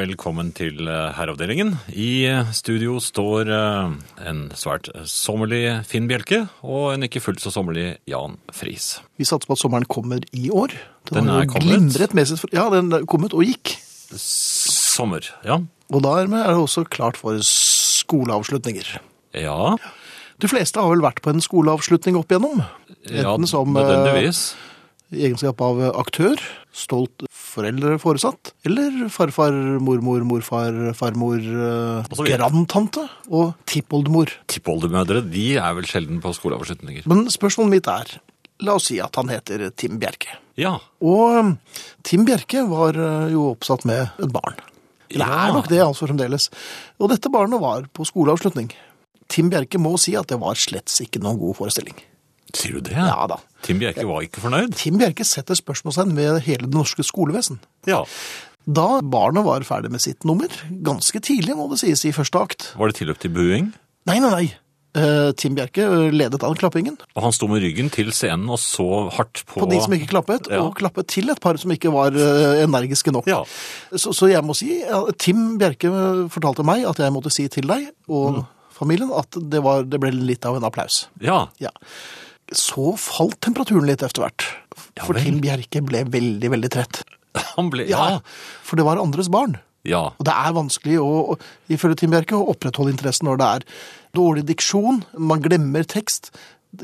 Velkommen til eh, Herreavdelingen. I eh, studio står eh, en svært sommerlig Finn Bjelke og en ikke fullt så sommerlig Jan Friis. Vi satser på at sommeren kommer i år. Den er har jo kommet. Glimret med sitt, ja, den er kommet og gikk. Sommer, ja. Og dermed er det også klart for skoleavslutninger. Ja, De fleste har vel vært på en skoleavslutning opp igjennom. ja Enten som eh, nødvendigvis. i egenskap av eh, aktør, stolt foreldre, foresatt, eller farfar, mormor, morfar, farmor, eh, Og så videre. grandtante og tippoldemor. Tippoldemødre de er vel sjelden på skoleavslutninger. Men spørsmålet mitt er, la oss si at han heter Tim Bjerke. Ja. Og um, Tim Bjerke var uh, jo oppsatt med et barn. Det Ja. er nok det, altså, fremdeles. Og dette barnet var på skoleavslutning. Tim Bjerke må si at det var slett ikke noen god forestilling. Sier du det? Ja da. Tim Bjerke var ikke fornøyd. Tim Bjerke setter spørsmålstegn ved hele det norske skolevesen. Ja. Da barnet var ferdig med sitt nummer, ganske tidlig må det sies, i første akt Var det tilløp til buing? Nei, nei, nei. Eh, Tim Bjerke ledet an klappingen Og han sto med ryggen til scenen og så hardt på, på de som ikke klappet, Ja. og klappet til et par som ikke var eh, energiske nok. Ja. Så, så jeg må si, ja, Tim Bjerke eh, fortalte meg at jeg måtte si til deg og Mm. familien at det, var, det ble litt av en applaus. Ja. Ja. Så falt temperaturen litt etter hvert. Ja For vel. Tim Bjerke ble veldig, veldig trett. Han ble Ja. For det var andres barn. Ja. Og det er vanskelig, å, å- ifølge Tim Bjerke, å opprettholde interessen når det er dårlig diksjon, man glemmer tekst,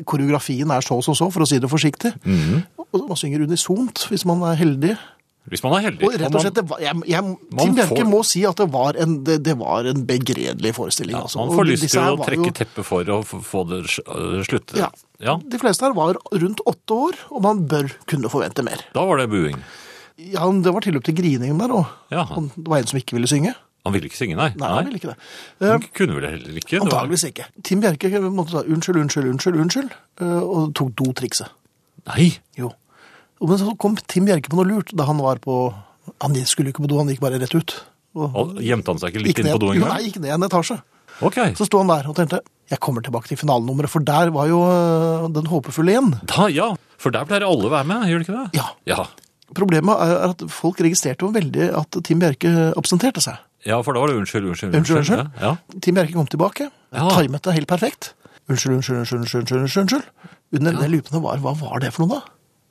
koreografien er så som så, for å si det forsiktig. Mhm. Og man synger unisont, hvis man er heldig. Hvis man er heldig. Og rett og slett, det var, jeg, jeg, Tim Bjerke får- må si at det var en, det, det var en begredelig forestilling. Ja, altså. man Og får lyst disse til her å var trekke jo- teppet for å f- få det sl- øh, sluttet. Ja. Ja, De fleste her var rundt åtte år, og man bør kunne forvente mer. Da var det buing. Ja, men Det var tilløp til grining der òg. Ja, Han Det var en som ikke ville synge. han ville ikke synge, nei. Nei, han ville ikke det. Eh, Han kunne vel heller ikke. det var- Antageligvis ikke. Tim Bjerke måtte ta unnskyld, unnskyld, unnskyld, unnskyld, eh, og tok do-trikset. Nei. Jo. Og Men så kom Tim Bjerke på noe lurt da han var på Han skulle jo ikke på do, han gikk bare rett ut. Og Og gjemte han seg ikke litt gikk inn på ned- do Jo, Nei, engang? gikk ned en etasje. Ok. Så sto han der og tenkte jeg kommer tilbake til finalenummeret, for der var jo eh, den håpefulle igjen. Da, ja, for der pleier alle å være med, gjør det ikke det? Ja. Ja, Problemet er er at folk registrerte jo veldig at Tim Bjerke absenterte seg. ja for da var det unnskyld, unnskyld, Unnskyld, unnskyld. unnskyld. Ja. Tim Bjerke kom tilbake, Ja. timet det helt perfekt. Unnskyld, unnskyld, unnskyld, unnskyld, unnskyld, unnskyld, unnskyld. Under det lupene var, hva var det for noe da?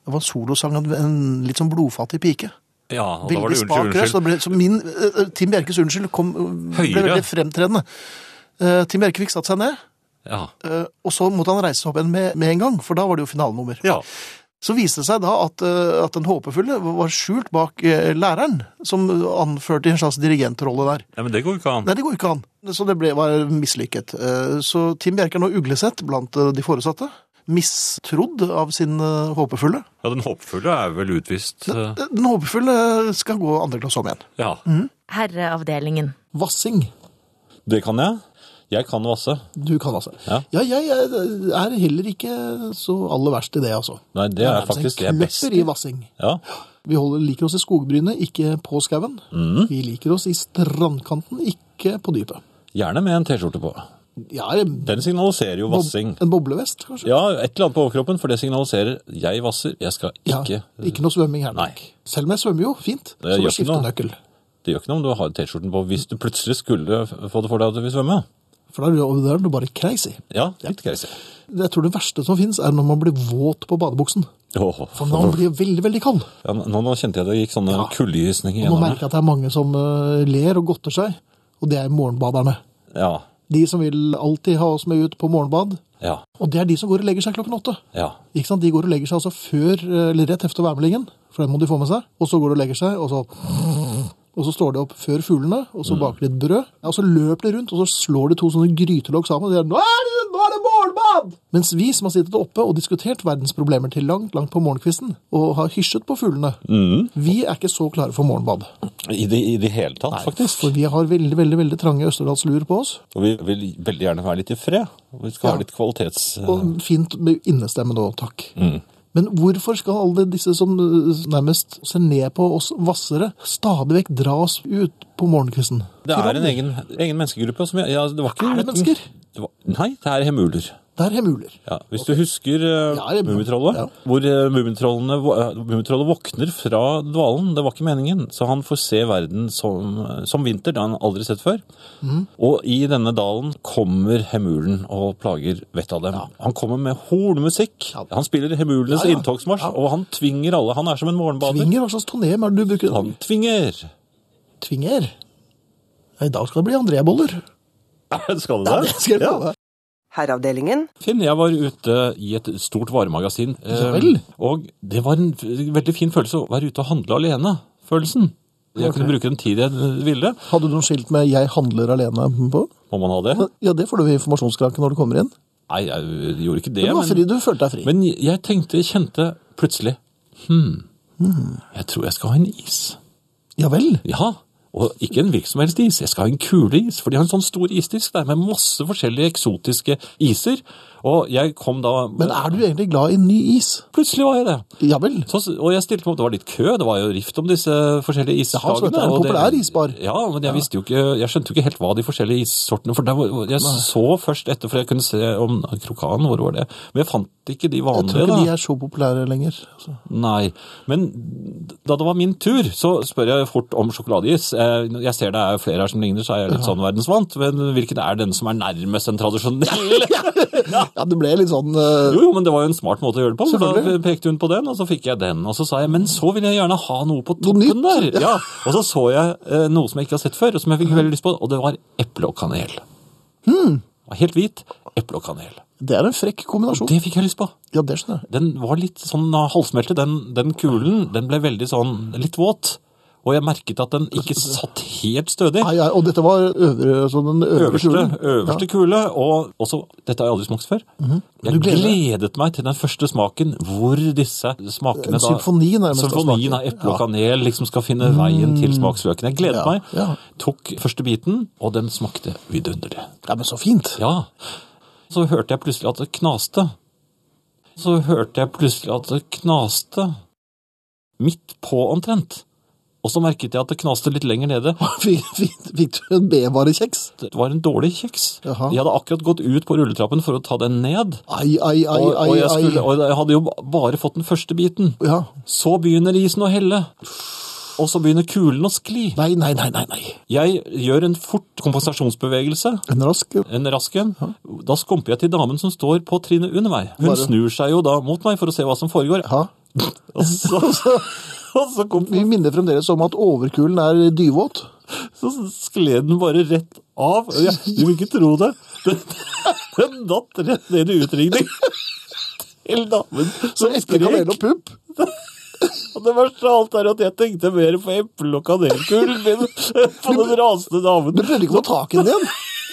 Det var en solosang av en litt sånn blodfattig pike. ja, og da var Veldig det spak unnskyld, røst. unnskyld. og det ble- Så min, eh, eh, Tim Bjerkes unnskyld kom, eh, ble Høyere. veldig fremtredende. Eh, Tim Bjerke fikk satt seg ned, Ja. eh, og så måtte han reise seg opp igjen med, med en gang, for da var det jo finalenummer. ja. Så viste det seg da at, eh, at den håpefulle var skjult bak eh, læreren, som anførte en slags dirigentrolle der. Nei, men det går jo ikke an. Nei, det går ikke an. Så det ble, var mislykket. Eh, Så Tim Bjerke er nå uglesett blant eh, de foresatte. Mistrodd av sin eh, håpefulle. Ja, den håpefulle er vel utvist. eh, Den håpefulle skal gå andre klasse om igjen. Ja. Herreavdelingen. Vassing. Det kan jeg. Jeg kan vasse. Du kan altså. Ja. jeg eh, er heller ikke så aller verst i det, altså. Nei, det er faktisk det jeg er best Kløpper i vassing. Ja. Vi holder, liker oss i skogbrynet, ikke på skauen. Mhm. Vi liker oss i strandkanten, ikke på dypet. Gjerne med en T-skjorte på. Ja, en, Den signaliserer jo bob- vassing. en boblevest, kanskje? Ja, et eller annet på overkroppen, for det signaliserer jeg vasser, jeg skal ikke. eh, Ja, ikke noe svømming her. nok. Nei. Selv om jeg svømmer jo fint, Det så med gjør ikke noe. skiftenøkkel. Det gjør ikke noe om du har T-skjorten på hvis du plutselig skulle få det for deg at du vil svømme. For da er du- da er du bare crazy. Ja, litt crazy. Det jeg tror det verste som fins, er når man blir våt på badebuksen. Åh, For man blir veldig, veldig kald. ja, nå, nå kjente jeg det gikk sånne Ja. kuldegysninger Og nå gjennom merker jeg at det er mange som eh, ler og godter seg, og det er morgenbaderne. meg. Ja, De som vil alltid ha oss med ut på morgenbad, ja, og det er de som går og legger seg klokken åtte. ja. Ikke sant? De går og legger seg altså før, eh, eller rett efter værmeldingen, for den må de få med seg. Og så går de og legger seg, og så, og så står de opp før fuglene, og så baker de et brød. Ja, og så løper de rundt, og så slår de to sånne grytelokk sammen. Og de er, nå er det, nå er det morgenbad! Mens vi som har sittet oppe og diskutert verdens problemer til langt, langt på morgenkvisten, og har hysjet på fuglene, vi er ikke så klare for morgenbad. I det, i det hele tatt, faktisk. For vi har veldig, veldig, veldig trange Østerdalsluer på oss, Og vi vil veldig gjerne være litt i fred. og Vi skal Ja. ha litt kvalitets... og fint med innestemme nå, takk. Mm. Men hvorfor skal alle disse som eh, nærmest ser ned på oss vassere, stadig vekk dra oss ut på morgenkvisten? Det er en egen, egen menneskegruppe som jeg... Ja, det var ikke... Er det mennesker? Det var, nei, det er hemuler. Der har muler. Ja, hvis du husker uh, Ja, jeg- Mummitrollet, ja. hvor uh, Mummitrollene vo- eh, Mummitrollet våkner fra dvalen. Det var ikke meningen. Så han får se verden som, eh, som vinter, det har han aldri sett før. Mhm. Og i denne dalen kommer Hemulen og plager vettet av dem. Han kommer med hornmusikk. Ja. Han spiller Hemulenes Ja, ja. inntogsmarsj, Ja. og han tvinger alle. Han er som en morgenbader. Tvinger, hva slags tonem er det du bruker? Han tvinger! Tvinger? Ja, I dag skal det bli André-boller. Skal det det? Det skal jeg Ja. love. Herreavdelingen. Finn, jeg var ute i et stort varemagasin. eh, Ja vel. Og det var en f- veldig fin følelse å være ute og handle alene-følelsen. Jeg kunne bruke den tid jeg ville. Hadde du noe skilt med 'Jeg handler alene' på? Må man ha det? Ja, det får du ved informasjonskranken når du kommer inn. Nei, jeg gjorde ikke Men det. du var fri, Men, du følte deg fri. men jeg tenkte, jeg kjente plutselig Hmm. Hm, jeg tror jeg skal ha en is. Ja vel. Ja, og ikke en hvilken som helst is. Jeg skal ha en kuleis, for de har en sånn stor isdisk der med masse forskjellige eksotiske iser. Og jeg kom da Men er du egentlig glad i ny is? Plutselig var jeg det. Ja vel. Så, og jeg stilte meg opp, det var litt kø, det var jo rift om disse forskjellige Ja, så islagene. dette er en og det- populær isbar. Ja, men jeg visste jo ikke, jeg skjønte jo ikke helt hva de forskjellige issortene, for det var, jeg så først etter, for jeg kunne se om krokanen, hvor var det? Men jeg fant ikke de Jeg vanlige tror ikke de da. er så populære lenger. altså. Nei, men da det var min tur, så spør jeg fort om sjokoladeis. Eh, Jeg ser det er flere her som ligner, så er jeg litt sånn verdensvant, men hvilken er den som er nærmest en tradisjonell? Ja, det ble litt sånn eh, Jo, jo, men det var jo en smart måte å gjøre det på. for Da Selvfølgelig. pekte hun på den, og så fikk jeg den. Og så sa jeg men så vil jeg gjerne ha noe på Noe nytt, toppen der. Ja, Og så så jeg eh, noe som jeg ikke har sett før, og som jeg fikk veldig lyst på, og det var eple og kanel. Hmm. Og Helt hvit eple og kanel. Det er en frekk kombinasjon. Det fikk jeg lyst på. Ja, det skjønner jeg. Den var litt sånn eh, halvsmeltet, den, den kulen. Den ble veldig sånn litt våt. Og jeg merket at den ikke satt helt stødig. Nei, ja, og dette var øvre, så den øvre Øverste, kulen. øverste kule, og også, dette har jeg aldri smakt før. Jeg Mhm. gleder gledet, deg. meg til den første smaken hvor disse smakene En symfoni nærmest av Symfonien smaker. av eple og kanel liksom skal finne veien til smaksløken. Jeg gledet Mm. Ja, meg. ja. Tok første biten, og den smakte vidunderlig. Ja. Nei, men så fint. Ja. Så hørte jeg plutselig at det knaste. Så hørte jeg plutselig at det knaste. Midt på omtrent. Og så merket jeg at det knaste litt lenger nede. Fikk, fikk, fikk du en B-varekjeks? Det var en dårlig kjeks. Jaha. Jeg hadde akkurat gått ut på rulletrappen for å ta den ned. Ai, ai, ai, Og, ai, og, jeg, ai. skulle, og jeg hadde jo bare fått den første biten. Ja. Så begynner isen å helle. Og så begynner kulen å skli. Nei, nei, nei, nei, nei. Jeg gjør en fort kompensasjonsbevegelse. En rask En rask en. Da skumper jeg til damen som står på trinnet under meg. Hun Bare- snur seg jo da mot meg for å se hva som foregår. ja. Og så, og så, kom, Vi minner fremdeles om at overkulen er dyvåt. så skled den bare rett av. Jeg, du vil ikke tro det. Den, den datt rett ned i utringning. Til damen Så som eple, skrek. kanel og pupp. Og det verste av alt er at jeg tenkte mer på eple- og kanelkulen min enn på den rasende damen. Du prøvde ikke å ta tak i den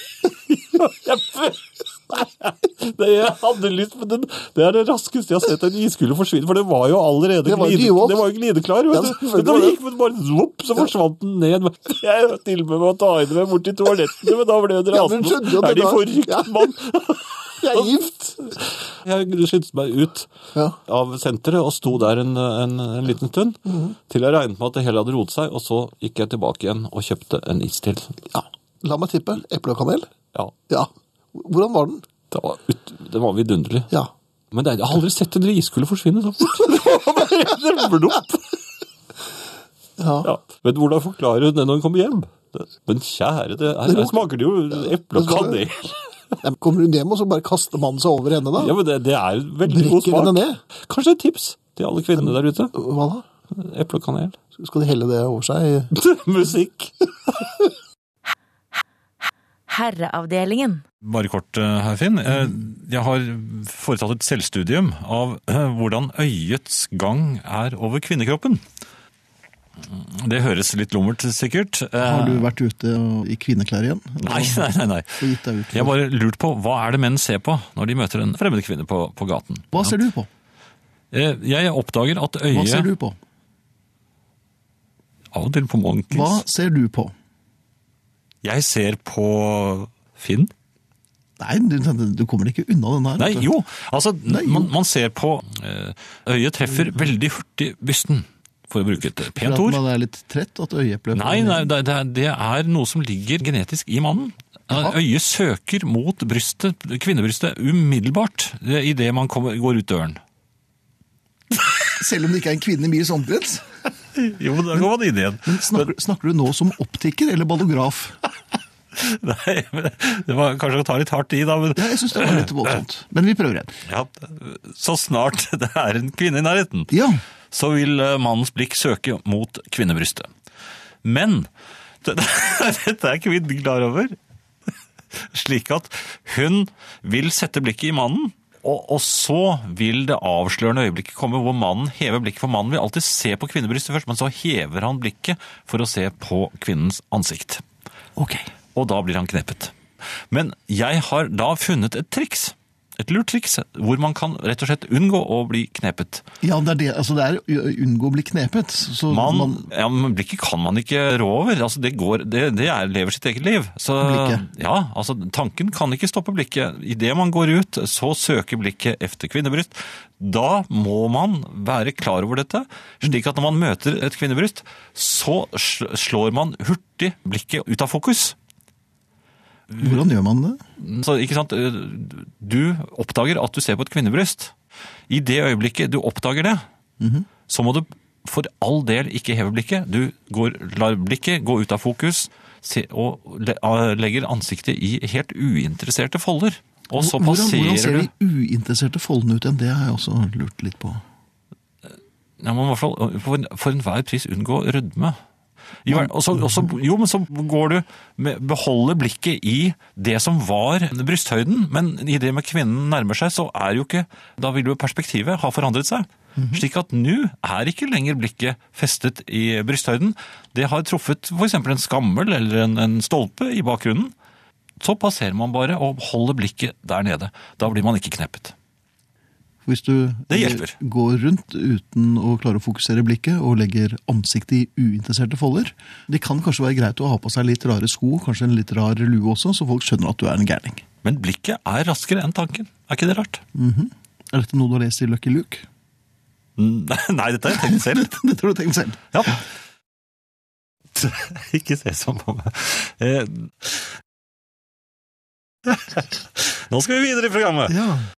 igjen. Jeg prøv- Det jeg hadde lyst på den, Det er det raskeste jeg har sett en iskule forsvinne, for det var jo allerede Det var glide- dyvåt. det var jo glideklar. Ja, Vet du. selvfølgelig det var det. gikk men bare zopp, så forsvant den ned. Jeg tilbød meg å ta henne med bort til toalettene, men da ble hun Ja, men rasende. skjønner jo at er de det var- forrykt, Ja. mann? Jeg er gift. Jeg skyndte meg ut Ja. av senteret og sto der en, en, en liten stund, Mhm. til jeg regnet med at det hele hadde roet seg, og så gikk jeg tilbake igjen og kjøpte en is til. Ja. La meg tippe. Eple og kanel? Ja, Ja. Hvordan var den? det var, ut, det var vidunderlig. Ja. Men det, jeg har aldri sett en iskule forsvinne så fort. det var blopp. ja. Ja. Men hvordan forklarer hun det når hun kommer hjem? Det- Men kjære, det, her, her smaker det jo eple og Det var- kanel. Nei, men Kommer hun hjem, og så bare kaster mannen seg over henne da? Ja, men det, det er en veldig god Brekker henne smak. ned? Kanskje et tips til alle kvinnene der ute. Hva da? Eple og kanel. Skal de helle det over seg? Musikk. Herreavdelingen. Bare kort, eh, herr Finn. Eh, Mm. Jeg har foretatt et selvstudium av eh, hvordan øyets gang er over kvinnekroppen. Det høres litt lummert, sikkert. Eh, Har du vært ute og- i kvinneklær igjen? Nei, nei, nei. nei. Og gitt deg ut? Jeg har bare lurt på, Hva er det menn ser på når de møter en fremmed kvinne på, på gaten? Hva ser du på? Eh, Jeg oppdager at Hva ser øyet du på? Av og til på Hva Monkeys. ser du på? Jeg ser på Finn. Nei, du, du kommer ikke unna den her. Nei, vet du. jo! Altså, Nei, jo. Mm. Man, man ser på eh, Øyet treffer veldig hurtig bysten, for å bruke et For pent at ord. man er litt trett og at øyeeplet Nei, nei det, det, er- det er noe som ligger genetisk i mannen. Ja. Øyet søker mot brystet, kvinnebrystet umiddelbart idet man kommer, går ut døren. Selv om det ikke er en kvinne i Mies omkrets. Jo, der går man inn igjen. Men snakker, snakker du nå som optiker eller ballograf? Nei, men det var kanskje å ta litt hardt i, da. Men Ja, jeg syns det var litt voldsomt. Men vi prøver igjen. ja, så snart det er en kvinne i nærheten, Ja. så vil eh, mannens blikk søke mot kvinnebrystet. Men det- dette er kvinnen klar over. Slik at hun vil sette blikket i mannen, og, og så vil det avslørende øyeblikket komme hvor mannen hever blikket, for mannen vil alltid se på kvinnebrystet først, men så hever han blikket for å se på kvinnens ansikt. Ok. Og da blir han kneppet. Men jeg har da funnet et triks. Et lurt triks hvor man kan rett og slett unngå å bli knepet. Ja, det er det. Altså, det er å unngå å bli knepet. Så Man, man- ja, men blikket kan man ikke rå over. Altså, det, går, det, det er, lever sitt eget liv. Så, Blikket. Ja, altså, tanken kan ikke stoppe blikket. Idet man går ut, så søker blikket efter kvinnebryst. Da må man være klar over dette, slik at når man møter et kvinnebryst, så sl- slår man hurtig blikket ut av fokus. Hvordan gjør man det? Så, ikke sant? Du oppdager at du ser på et kvinnebryst. I det øyeblikket du oppdager det, Mhm. så må du for all del ikke heve blikket. Du går, lar blikket gå ut av fokus se, og le, a- legger ansiktet i helt uinteresserte folder. Og så Hvordan, passerer hvordan ser du de uinteresserte foldene ut igjen? Det har jeg også lurt litt på. ja, man må i hvert fall øh, for, for enhver pris unngå rødme. I hver- og så- og så- jo, men så går du med, beholder blikket i det som var brysthøyden, men i det med kvinnen nærmer seg, så er jo ikke Da vil jo perspektivet ha forandret seg. Slik at nå er ikke lenger blikket festet i brysthøyden. Det har truffet f.eks. en skammel eller en, en stolpe i bakgrunnen. Så passerer man bare og holder blikket der nede. Da blir man ikke kneppet. Hvis du Det hjelper. går rundt uten å klare å fokusere blikket og legger ansiktet i uinteresserte folder Det kan kanskje være greit å ha på seg litt rare sko, kanskje en litt rar lue også, så folk skjønner at du er en gærning. Men blikket er raskere enn tanken. Er ikke det rart? Mhm. Er dette noe du har lest i Lucky Luke? Nei, dette har jeg tenkt selv. Dette har du tenkt selv. Ja. Ikke se sånn på meg. Eh. Nå skal vi videre i programmet. Ja.